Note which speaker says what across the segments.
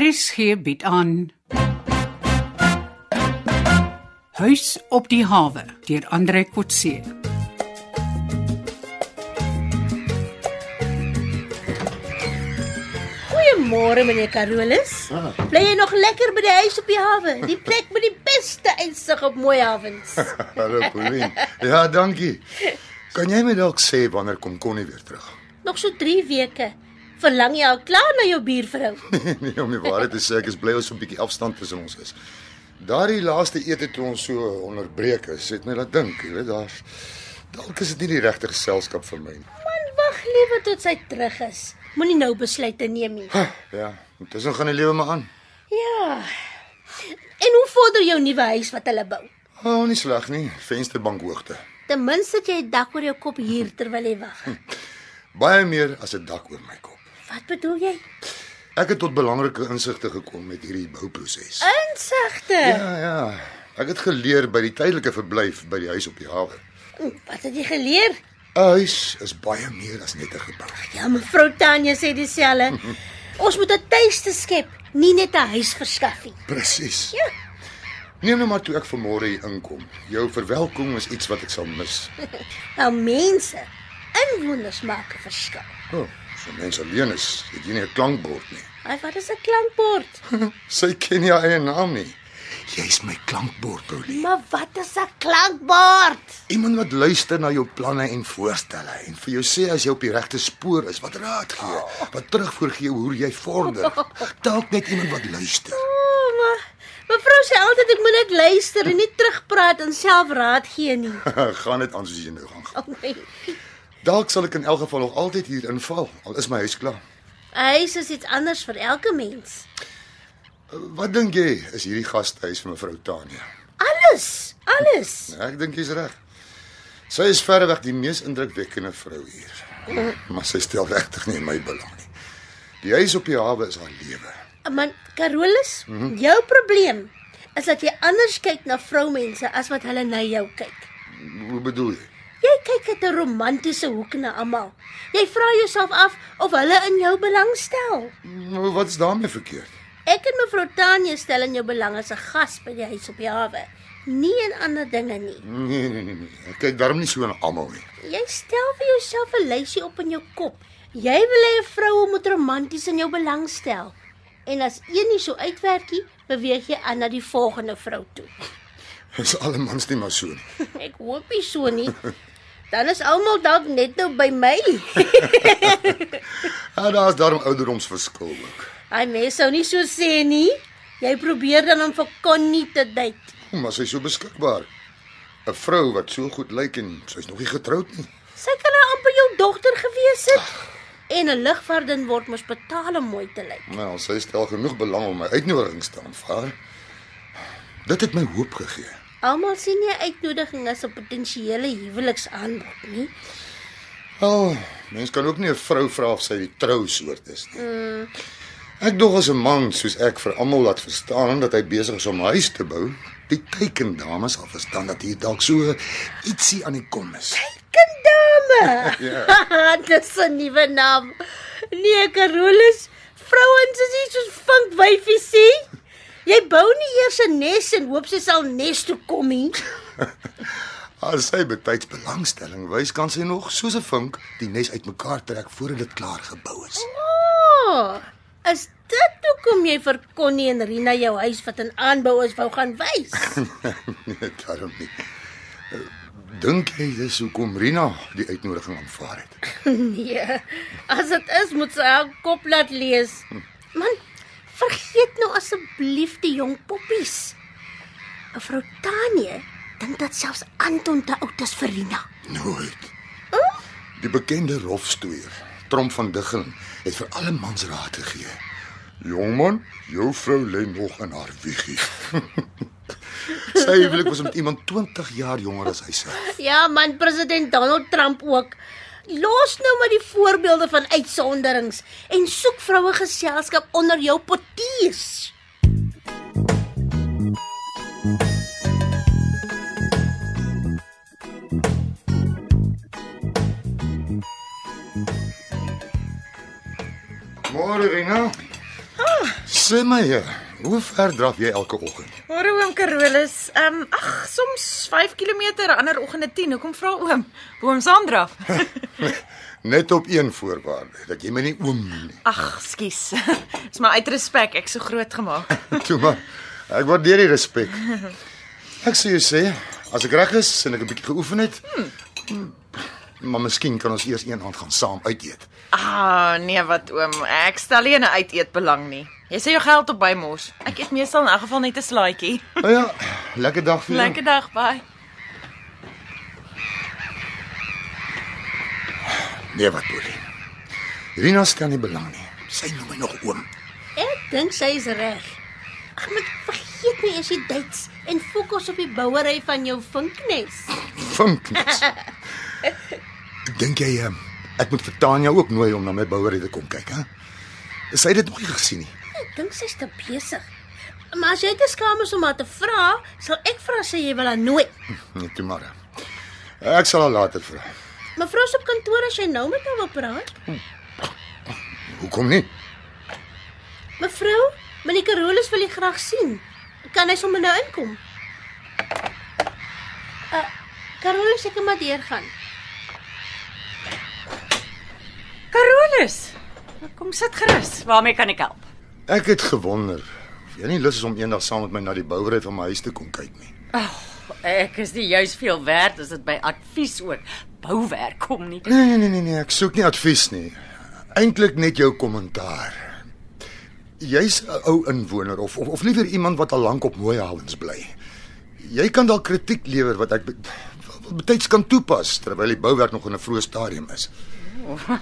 Speaker 1: RSG bied aan Huis op die hawe deur Andre Kotse.
Speaker 2: Goeiemôre meneer Carolus. Bly jy nog lekker by die huis op die hawe? Die plek met die beste uitsig op mooi hawens.
Speaker 3: Hallo Pauline. Ja, dankie. Kan jy my dalk sê wanneer kom Connie weer terug?
Speaker 2: Nog so 3 weke. Verlang jy al klaar na jou buurvrou?
Speaker 3: nee, om die waarheid te sê, ek is bly ons so 'n bietjie afstand tussen ons is. Daardie laaste ete toe ons so onderbreek is, het my laat dink, jy weet, daar's dalk is dit nie die regte geselskap vir my nie.
Speaker 2: Man wag liewe tot sy terug is. Moenie nou besluite neem nie.
Speaker 3: Ja, intussen gaan die lewe maar aan.
Speaker 2: Ja. En hoe vorder jou nuwe huis wat hulle bou?
Speaker 3: O, oh, nie sleg nie, vensterbankhoogte.
Speaker 2: Ten minste het jy 'n dak oor jou kop hier terwyl jy wag.
Speaker 3: Baie meer as 'n dak oor my kop.
Speaker 2: Wat bedoel jy?
Speaker 3: Ek het tot belangrike insigte gekom met hierdie bouproses.
Speaker 2: Insigte.
Speaker 3: Ja, ja. Ek het geleer by die tydelike verblyf by die huis op die hawe.
Speaker 2: Hm, Wat het jy geleer?
Speaker 3: 'n Huis is baie meer as net 'n gebou.
Speaker 2: Ja, mevrou Tanya sê dieselfde. Ons moet 'n tuiste skep, nie net 'n huis verskaf nie.
Speaker 3: Presies.
Speaker 2: Ja.
Speaker 3: Neem nou maar toe ek vanmôre hier inkom. Jou verwelkoming is iets wat ek sal mis.
Speaker 2: Wel Nou, mense, inwoners maak 'n verskil.
Speaker 3: O, oh, so mense alleen is, het jy nie 'n klankbord nie.
Speaker 2: Ai, wat is 'n klankbord?
Speaker 3: Sy ken jou eie naam nie. Jy's my klankbord, Paulie.
Speaker 2: Maar wat is 'n klankbord?
Speaker 3: Iemand wat luister na jou planne en voorstelle en vir jou sê as jy op die regte spoor is, wat raad gee, wat terugvoer gee hoe jy vorder. Dalk net iemand wat luister.
Speaker 2: O, oh, maar mevrou sê altyd ek moet net luister en nie terugpraat en self raad gee nie.
Speaker 3: gaan dit aan soos jy nou gaan.
Speaker 2: Oh, nee.
Speaker 3: Dalk sal ek in elk geval nog altyd hier inval, al is my huis klaar.
Speaker 2: 'n Huis is iets anders vir elke mens.
Speaker 3: Wat dink jy is hierdie gastehuis van mevrou Tanya?
Speaker 2: Alles, alles.
Speaker 3: Ja, ek dink jy's reg. Sy is verreweg die mees indrukwekkende vrou hier. Maar sy stel regtig nie in my belang nie. Die huis op die hawe is haar lewe.
Speaker 2: Man, Carolus, mm -hmm. jou probleem is dat jy anders kyk na vroumense as wat hulle na jou kyk.
Speaker 3: Hoe bedoel jy?
Speaker 2: Jy kyk uit 'n romantiese hoek na almal. Jy vra jouself af of hulle in jou belangstel.
Speaker 3: Nou wat is daarmee verkeerd?
Speaker 2: Ek en mevrou Tanya stel in jou belang as 'n gas by die huis op die hawe, nie in ander dinge nie.
Speaker 3: Nee nee nee nee. Ek kyk daarom nie so na almal nie.
Speaker 2: Jy stel vir jouself 'n lysie op in jou kop. Jy wil hê 'n vrou moet romanties in jou belangstel. En as een nie so uitwerkie, beweeg jy aan na die volgende vrou toe.
Speaker 3: Is alle mans nie maar so nie.
Speaker 2: Ek hoop nie so nie. Dan is almal dalk net nou by my.
Speaker 3: Ja, daar's daarom ouderdomsverskil ook.
Speaker 2: Hy mens sou nie so sê nie. Jy probeer dan om vir Connie te date.
Speaker 3: O, Maar sy's so beskikbaar. 'n Vrou wat so goed lyk en sy's nog nie getroud nie.
Speaker 2: Sy kan nou amper jou dogter gewees het. En 'n ligverdin word mos betaal om mooi te lyk.
Speaker 3: Nou, sy stel genoeg belang om my uitnodigings te aanvaar. Dit het my hoop gegee.
Speaker 2: Almal sien nie 'n uitnodiging as 'n potensiële huweliksaanbod nie.
Speaker 3: Wel, mens kan ook nie 'n vrou vra of sy die trou soort is nie. Ek dog as 'n man soos ek vir almal laat verstaan dat hy besig is om 'n huis te bou, die teiken dames sal verstaan dat hier dalk so ietsie aan die kom is.
Speaker 2: Kindame.
Speaker 3: Ja.
Speaker 2: ja. Dis 'n nuwe naam. Nee, Carolus, vrouens is nie soos vink wyfies sê. Jy bou nie eers 'n nes en hoop sy sal nes toe kom nie.
Speaker 3: As sy betyds belangstelling wys, kan sy nog soos 'n vink die nes uitmekaar trek voordat dit klaar gebou is.
Speaker 2: Oh, is dit hoekom jy vir Connie en Rina jou huis wat in aanbou is wou gaan wys?
Speaker 3: nee, daarom nie. Dink jy dis hoekom Rina die uitnodiging aanvaar het?
Speaker 2: Nee. As dit is, moet sy haar kop laat lees. Man, vergeet nou asseblief die jong poppies. Mevrou Tanya dink dat selfs Anton te oud is vir Rina.
Speaker 3: Nooit. Die bekende rofstoeier, Tromp van Diggelin, het vir alle mans raad gegee. Jongman, jou vrou lê nog in haar wiegie. sy huwelik was met iemand 20 jaar jonger as hy self.
Speaker 2: Ja, man, president Donald Trump ook. Los nou maar die voorbeelde van uitsonderings en soek vroue geselskap onder jou portiers.
Speaker 3: Môre Rina. Sê my, eh, hoe ver draf jy elke oggend?
Speaker 4: Môre oom Carolus. Ehm um, ag, soms 5 km, ander oggende 10. Hoekom vra oom? Oom Sandra.
Speaker 3: Net op een voorwaarde, dat jy my nie oom noem nie.
Speaker 4: Ag, skus. Dis maar uit respek ek so groot gemaak.
Speaker 3: Toe maar. Ek waardeer die respek. Ek sê jy sê, as ek reg is en ek 'n bietjie geoefen het, maar miskien kan ons eers een aand gaan saam uit eet.
Speaker 4: Ah, nee wat oom, ek stel nie 'n uiteet belang nie. Jy sê jou geld op by mors. Ek eet meestal in elk geval net 'n slaaitjie.
Speaker 3: Nou ja, lekker dag vir jou.
Speaker 4: Lekker dag, bye.
Speaker 3: Nee, wat Polly. Rina stel nie belang nie. Sy noem my nog oom.
Speaker 2: Ek dink sy is reg. Ag, maar vergeet nie eers die dates en fokus op die bouery van jou vinknes.
Speaker 3: Vinknis. Dink jy ehm, ek moet vir Tanya ook nooi om na my bouery te kom kyk, hè? Sy het dit nog nie gesien nie.
Speaker 2: Ek dink sy's te besig. Maar as jy te skaam is om haar te vra, sal ek vra sy jy wil haar nooi.
Speaker 3: Nee, toe maar. Ek sal haar later vra.
Speaker 2: Mevrou se op kantoor as jy nou met haar wil praat.
Speaker 3: Hoekom nie?
Speaker 2: Mevrou, meneer Carolus wil u graag sien. Kan hy sommer nou inkom? Uh, Carolus, ek kan maar deurgaan.
Speaker 4: Carolus. Kom sit gerus. Waarmee kan ek help?
Speaker 3: Ek het gewonder of jy nie lus is om eendag saam met my na die bouery van my huis te kom kyk nie.
Speaker 5: Ek is nie juis veel werd as dit by advies ook bouwerk kom nie.
Speaker 3: Nee, nee, nee, nee, nee, ek soek nie advies nie. Eintlik net jou kommentaar. Jy's 'n ou inwoner of of, of liewer iemand wat al lank op mooi hawens bly. Jy kan dalk kritiek lewer wat ek be- wat betyds kan toepas terwyl die bouwerk nog in 'n vroeë stadium is.
Speaker 4: Oh.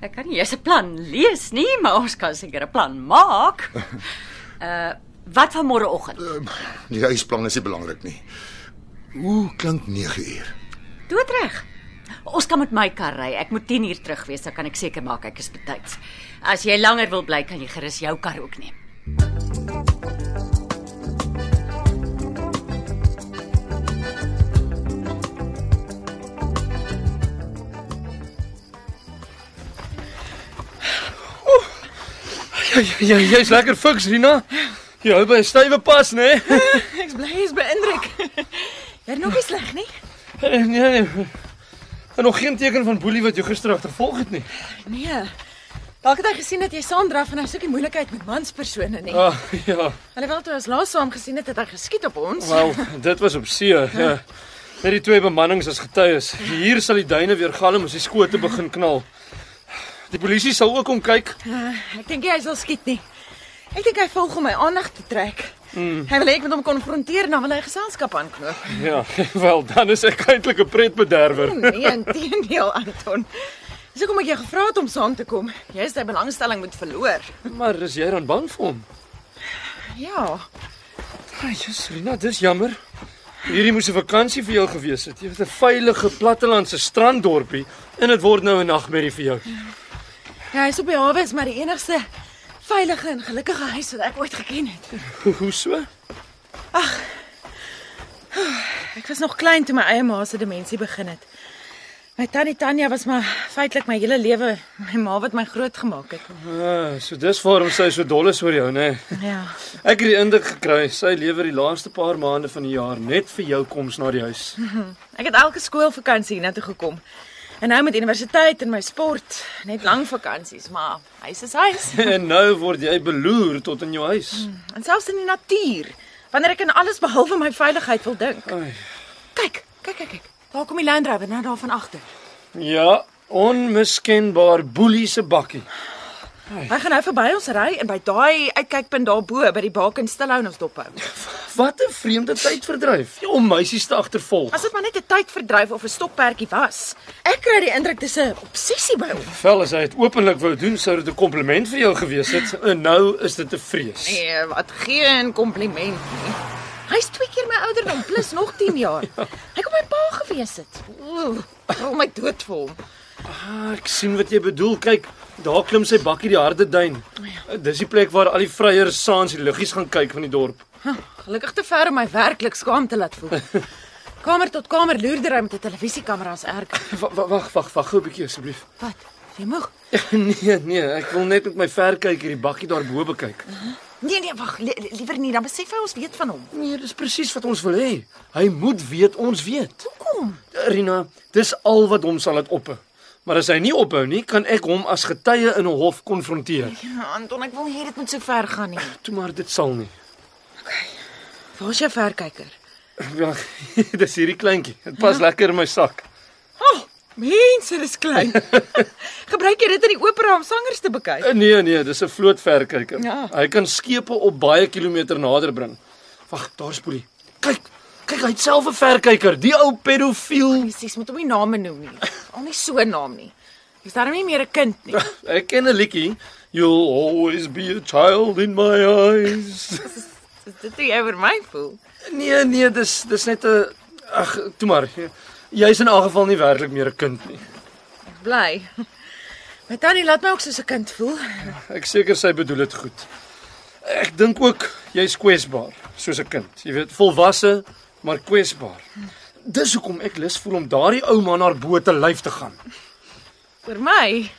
Speaker 5: Ek kan nie eers 'n plan lees nie, maar ons kan seker 'n plan maak. Uh wat van môreoggend?
Speaker 3: Die huisplan is nie belangrik nie. Hoe klink 9 uur?
Speaker 5: Doet reg. Ons kan met my kar ry. Ek moet 10 uur terug wees, dan kan ek seker maak ek is betyds. As jy langer wil bly, kan jy gerus jou kar ook neem.
Speaker 6: Ja, ja, ja, jy's lekker fiks, Rina. Jy hou by 'n stywe pas, né?
Speaker 4: Ek's bly jy's beïndruk. Jy's nog nie sleg nie.
Speaker 6: Nee, Eh, nee. En nog geen teken van Boelie wat jou gister agtervolg het nie.
Speaker 4: Nee. Dalk het hy gesien dat jy Sandra van nou soekie moeilikheid met manspersone nie.
Speaker 6: Ah, ja.
Speaker 4: Alhoewel toe ons laas saam gesien het, het hy geskiet op ons.
Speaker 6: Wel, dit was op see. Ja. Net die twee bemannings as getuies. Hier sal die duine weer galm as die skote begin knal. Die polisie sal ook kom kyk.
Speaker 4: Ah, Ek dink nie hy sal skiet nie. Ek dink hy volg om my aandag te trek. Mm. Hy wil hê ek moet hom konfronteer en dan wil hy geselskap aanknoop.
Speaker 6: Ja, wel, dan is ek eintlik 'n pretbederwer.
Speaker 4: Nee, inteendeel, Anton. Dis hoekom ek jou gevra het om saam te kom. Jy is sy belangstelling moet verloor.
Speaker 6: Maar is jy dan bang vir hom?
Speaker 4: Ja.
Speaker 6: Jesus, Rina, dis jammer. Hierdie moes 'n vakansie vir jou gewees het. Jy het 'n veilige plattelandse stranddorpie en dit word nou 'n nagmerrie vir jou.
Speaker 4: Ja, hy is op die hawe is maar die enigste veilige en gelukkige huis wat ek ooit geken het.
Speaker 6: Hoe, hoe so?
Speaker 4: Ek was nog klein toe my eie ma se demensie begin het. My tannie Tanya was maar feitelik my hele lewe my ma wat my grootgemaak het.
Speaker 6: Ah, so dis waarom sy so dol is oor jou, né? Nee.
Speaker 4: Ja.
Speaker 6: Ek het die indruk gekry sy lewer die laaste paar maande van die jaar net vir jou koms na die huis.
Speaker 4: Ek het elke skoolvakansie hiernatoe gekom. En nou met universiteit en my sport, net lang vakansies, maar huis is huis.
Speaker 6: en nou word jy beloer tot in jou huis.
Speaker 4: En selfs in die natuur, wanneer ek aan alles behalwe my veiligheid wil dink.
Speaker 6: Ai.
Speaker 4: Kyk, kyk, kyk, kyk. Daar kom die Land Rover nou daarvan agter.
Speaker 6: Ja, onmiskenbaar boelie se bakkie.
Speaker 4: Hy gaan nou verby ons ry en by daai uitkykpunt daarbo by die baken stilhou en ons dop hou.
Speaker 6: Wat 'n vreemde tydverdryf om meisies te agtervolg.
Speaker 4: As dit maar net 'n tydverdryf of 'n stokperdjie was. Ek kry die indruk dis 'n obsessie by hom.
Speaker 6: Wel as hy dit openlik wou doen, sou dit 'n kompliment vir jou gewees het. En nou is dit 'n vrees.
Speaker 4: Nee, wat geen kompliment nie. Hy's twee keer my ouderdom plus nog 10 jaar. Hy kom my pa gewees het. Ooh, oh my dood vir hom.
Speaker 6: Ah, ek sien wat jy bedoel. Kyk, daar klim sy bakkie die harde duin.
Speaker 4: Oh ja.
Speaker 6: Eh, Dis die plek waar al die vryers saans die liggies gaan kyk van die dorp.
Speaker 4: Huh, Gelukkig te ver om my werklik skaam te laat voel. Kamer tot kamer loerder hy met 'n televisiekamera ons erg.
Speaker 6: Wa- wa- Wag, wag, wag gou 'n bietjie asseblief.
Speaker 4: Wat? Jy moeg.
Speaker 6: nee, nee, ek wil net met my verkyker die bakkie daar bo bekyk.
Speaker 4: Nee nee, wag, li li- liewer nie, dan besef hy ons weet van hom.
Speaker 6: Nee, dis presies wat ons wil hê. Hy moet weet ons weet.
Speaker 4: Hoekom?
Speaker 6: Rina, dis al wat hom sal laat ophou. Maar as hy nie ophou nie, kan ek hom as getuie in 'n hof konfronteer.
Speaker 4: Ja, Anton, ek wil nie hê dit moet so ver gaan nie.
Speaker 6: Toe maar dit sal nie.
Speaker 4: Waar is jou verkyker? Ja.
Speaker 6: Ja, dis hierdie kleintjie. Dit pas lekker in my sak.
Speaker 4: Oh, mense, dis klein. Gebruik jy dit in die opera om sangers te bekyk?
Speaker 6: Eh, Nee nee, dis 'n vlootverkyker.
Speaker 4: Ja.
Speaker 6: Hy kan skepe op baie kilometer nader bring. Wag, daar spoel hy. Kyk, kyk hy het self 'n verkyker, die ou pedofiel.
Speaker 4: Presies, nee, moet hom nie name noem nie. Al nie so 'n naam nie. Is daar nie meer 'n kind nie?
Speaker 6: Ek ken 'n liedjie. You'll always be a child in my eyes.
Speaker 4: Is dit hoe jy oor my voel?
Speaker 6: Nee nee, dis dis net 'n ag, toe maar. Jy's in elk geval nie werklik meer 'n kind nie.
Speaker 4: Bly. My tannie laat my ook soos 'n kind voel.
Speaker 6: Ek seker sy bedoel dit goed. Ek dink ook jy's kwesbaar, soos 'n kind. Jy weet, volwasse, maar kwesbaar. Dis hoekom ek lus voel om daardie ou man haar bo te lyf te gaan.
Speaker 4: Oor my.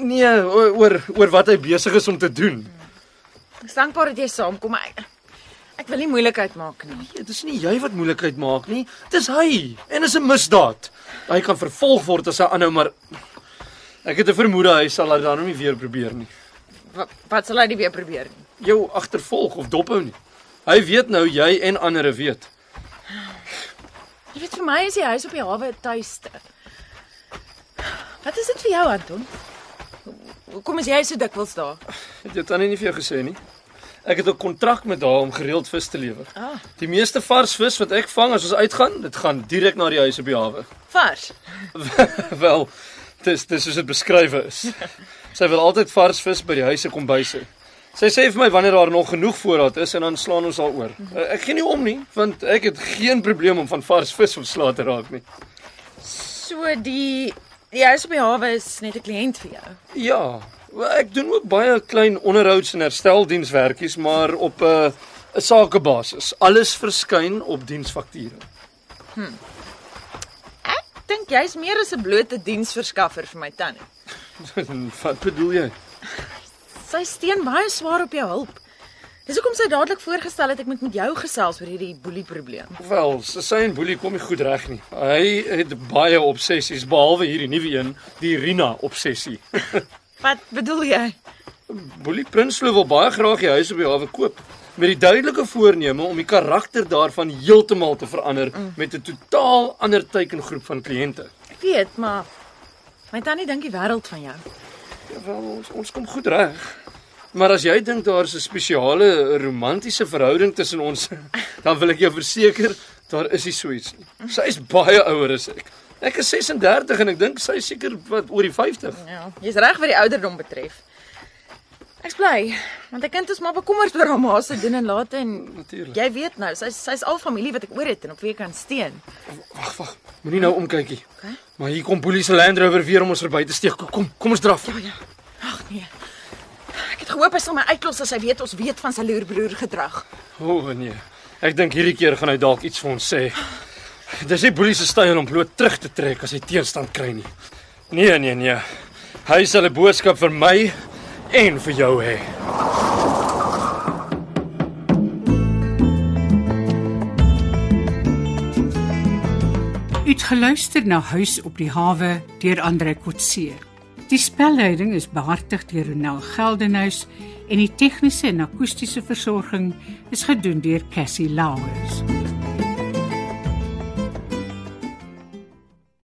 Speaker 6: Nee, o- oor oor wat hy besig is om te doen.
Speaker 4: Ek is dankbaar dat jy saamkom, maar ek, ek wil nie moeilikheid maak nie.
Speaker 6: Nee, dis nie jy wat moeilikheid maak nie, dis hy. En is 'n misdaad. Hy kan vervolg word as hy aanhou, maar ek het 'n vermoede hy sal dit dan nie weer probeer nie.
Speaker 4: Wat, wat sal hy nie weer probeer nie?
Speaker 6: Jou agtervolg of dophou nie. Hy weet nou jy en ander weet.
Speaker 4: Jy weet vir my is die huis op die hawe 'n tuiste. Wat is dit vir jou, Anton? Hoekom is jy so dikwels daar?
Speaker 6: Het jou tannie nie vir jou gesê nie? Ek het 'n kontrak met haar om gereeld vis te lewer.
Speaker 4: Ah.
Speaker 6: Die meeste vars vis wat ek vang as ons uitgaan, dit gaan direk na die huis op die hawe.
Speaker 4: Vars.
Speaker 6: Wel, dis dis soos dit beskrywe is. Sy wil altyd vars vis by die huis se kombuis hê. Sy sê vir my wanneer daar nog genoeg voorraad is en dan slaan ons al oor.
Speaker 4: Mhm.
Speaker 6: Eh, Ek gee nie om nie, want ek het geen probleem om van vars vis ontslae te raak nie.
Speaker 4: So die die huis op die hawe is net 'n kliënt vir jou.
Speaker 6: Ja, wel, ek doen ook baie klein onderhouds en hersteldienswerkies, maar op 'n 'n sakebasis. Alles verskyn op diensfakture.
Speaker 4: Ek dink jy's meer as 'n blote diensverskaffer vir my tannie.
Speaker 6: Wat bedoel jy?
Speaker 4: Sy steen baie swaar op jou hulp. Dis hoekom sy dadelik voorgestel het ek moet met jou gesels oor hierdie boelie probleem.
Speaker 6: Wel, s- sy en Boelie kom nie goed reg nie. Hy het baie obsessies behalwe hierdie nuwe een, die Rina obsessie.
Speaker 4: Wat bedoel jy?
Speaker 6: Boelie Prinsloo wil baie graag die huis op die hawe koop met die duidelike voorneme om die karakter daarvan heeltemal te verander met 'n totaal ander teikengroep van kliënte.
Speaker 4: Ek weet, maar my tannie dink die wêreld van jou.
Speaker 6: Ja, wel, ons, ons kom goed reg. Maar as jy dink daar's 'n spesiale romantiese verhouding tussen ons, dan wil ek jou verseker, daar is nie so iets nie. Sy is baie ouer as ek. Ek is 36 en ek dink sy is seker wat oor die 50.
Speaker 4: Ja, jy's reg wat die ouderdom betref. Ek's bly, want ek kind is maar bekommerd oor haar ma se doen en late en
Speaker 6: Natuurlik.
Speaker 4: jy weet nou, sy's sy's al familie wat ek oor het en op wie ek kan steun.
Speaker 6: Wag, wag. Moenie nou omkykie. Maar hier kom Boelie se Land Rover weer om ons verby te steek. Kom, Kom, kom ons draf. Ja, ja.
Speaker 4: Ag nee. Ek het gehoop hy sal my uitlos as hy weet ons weet van sy loerbroer gedrag.
Speaker 6: O oh, nee. Ek dink hierdie keer gaan hy dalk iets vir ons sê. Dis nie Boelie se styl om bloot terug te trek as hy teenstand kry nie. Nee, nee, nee. Hy sal 'n boodskap vir my en vir jou hê.
Speaker 1: U het geluister na Huis op die hawe deur Andre Kotse. Die spelleiding is behartig deur Ronel Geldenhuys en die tegniese en akoestiese versorging is gedoen deur Cassie Lauers.